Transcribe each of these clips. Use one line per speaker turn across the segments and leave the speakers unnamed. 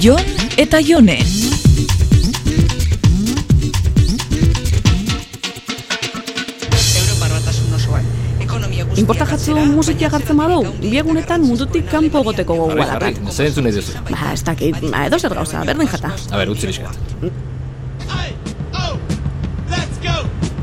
Jon eta Jone.
Europar batasun osoan. Ekonomia guztia
Inporta jatzu
gatzera,
musikia
baina
jartzen badau,
zerbait
bi egunetan mundutik kanpo egoteko gogoa
Jarri, jarri,
dakat.
zer entzun nahi duzu?
Ba, ez dakit, ba, edo zer gauza, berdin jata.
A ber, utzi pixka bat.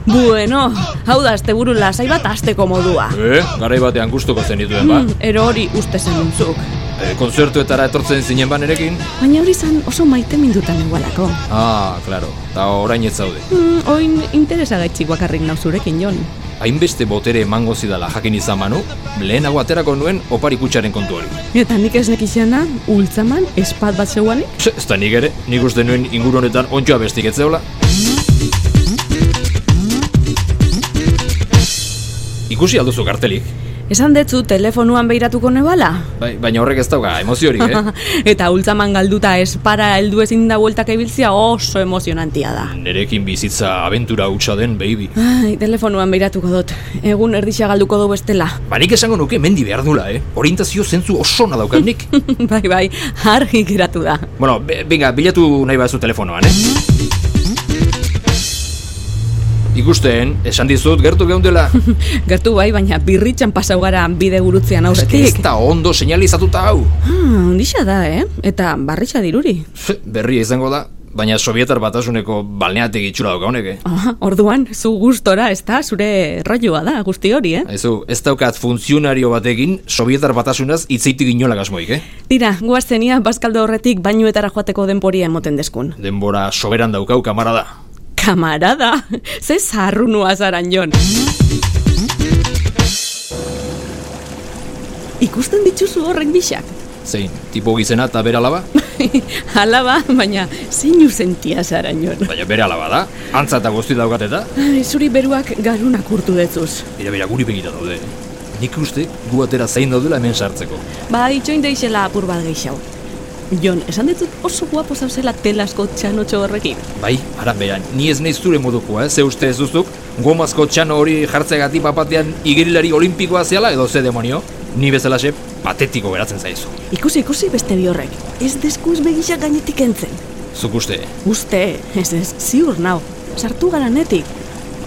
Bueno, hau da asteburu lasai bat asteko modua.
E, garai batean gustuko zenituen, ba?
Mm, ero hori uste zen zuk.
E, konzertuetara etortzen zinen ba nerekin?
Baina hori zan oso maite mindutan igualako.
Ah, claro, eta orain ez zaude.
Mm, oin interesagaitxik bakarrik nau zurekin, Jon.
Hainbeste botere emango zidala jakin izan banu, lehenago aterako nuen opari kutxaren kontu hori.
Eta nik ez nekixena, ultzaman, espat bat zeuanik?
Txe, ez da nik ere, nik uste nuen inguru honetan ontsoa bestik ez zeola. Ikusi alduzu kartelik,
Esan detzu telefonuan beiratuko nebala?
bai, baina horrek ez dauka emoziorik, eh?
Eta ultzaman galduta espara heldu ezin da bueltak ibiltzia oso emozionantia da.
Nerekin bizitza abentura hutsa den, baby.
Ai, telefonuan beiratuko dut. Egun erdixa galduko du bestela.
Banik Ba, esango nuke mendi behar dula, eh? Orientazio zentzu oso ona daukat nik.
bai, bai, argi geratu da.
bueno, be, venga, bilatu nahi bazu telefonoan, eh? Ikusten, esan dizut, gertu geundela.
Gertu bai, baina birritxan pasau gara bide gurutzean
Ez
aurretik.
da ondo seinalizatuta hau.
Ah, Ondisa da, eh? Eta barritxa diruri.
Fe, Berria izango da, baina sovietar batasuneko balneategi itxura dauka honek, eh?
Ah, orduan, zu gustora, ez da, zure rolloa da, guzti hori, eh?
Aizu, ez daukat funtzionario batekin sovietar batasunaz itzeitik inolak asmoik, eh?
Dira, guaztenia, bazkaldo horretik bainuetara joateko denporia emoten deskun.
Denbora soberan daukau kamara da.
Kamarada, ze zarrunua zaran jon. Ikusten dituzu horrek bisak.
Zein, tipo gizena eta bere alaba?
Alaba, baina zein usentia zara nion.
Baina bere alaba da, antza eta guzti daukat eta,
Ai, Zuri beruak garunak urtu detzuz.
Bira, bira, guri begira daude. Nik uste, gu atera zein daudela hemen sartzeko.
Ba, itxoin deixela apur bat geixau. Jon, esan ditzut oso guapo zauzela telasko txanotxo horrekin.
Bai, ara beran, ni ez naiz zure modukoa, eh? ze uste ez duzuk, gomazko txano hori jartzeagatik bapatean igerilari olimpikoa zeala edo ze demonio, ni bezalaxe patetiko geratzen zaizu.
Ikusi, ikusi beste bi horrek. Ez deskuz begisa gainetik entzen.
Zuk uste,
Uste, ez ez, ziur nau. Sartu garanetik.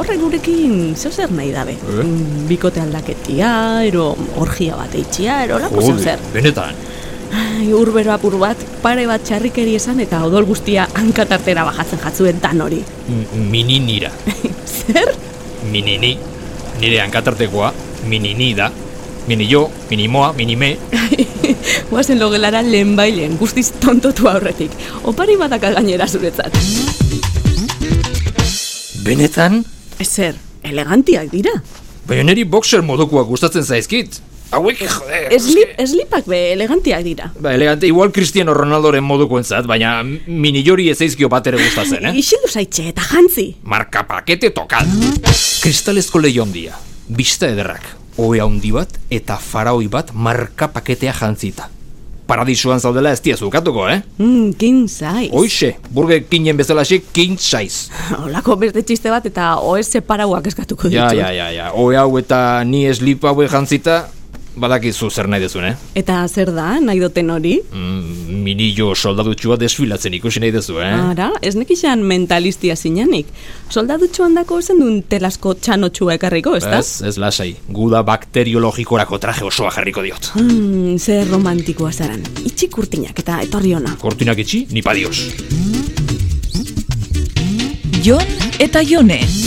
Horrek gurekin zeu zer nahi dabe.
Eh?
Mm, Bikote aldaketia, ero orgia bat eitxia, ero lako zeu zer.
benetan,
Ai, urbero apur bat, pare bat txarrikeri esan eta odol guztia hankatartera bajatzen jatzuen dan hori.
m- mininira,
Zer?
minini, nire hankatartekoa, minini da, minio, minimoa, minime,
Guazen logelara lehen bailen, guztiz tontotu aurretik. Opari badaka gainera zuretzat.
benetan,
Zer, elegantiak dira.
baina niri boxer modukoa gustatzen zaizkit. Hauek, jode,
Eslip, eslipak be elegantiak dira.
Ba, elegante, igual Cristiano Ronaldoren modukoentzat, baina minillori ez eizkio bat ere gustatzen, eh?
Isildu zaitxe eta jantzi.
Marka pakete tokal. Kristalezko leio handia, bista ederrak, oe handi bat eta faraoi bat marka paketea jantzita. Paradisuan zaudela ez diaz ukatuko, eh?
Mm, kin zaiz.
Hoixe, burge kinen bezalaxe king size.
Olako beste txiste bat eta oez separauak eskatuko ditu.
Ja, ja, ja, ja, oe hau eta ni eslip hau jantzita, badakizu zer nahi dezun, eh?
Eta zer da, nahi duten hori?
Mm, minillo soldadutxua desfilatzen ikusi nahi dezu, eh?
Ara, ez nekixan mentalistia zinanik. Soldadutxoan dako zen duen telasko txanotxua ekarriko, ez da?
Ez, ez lasai. Guda bakteriologikorako traje osoa jarriko diot.
Mm, zer romantikoa zaran. Itxik urtinak eta etorri ona.
Kortinak itxi, ni padios.
Jon eta Jone.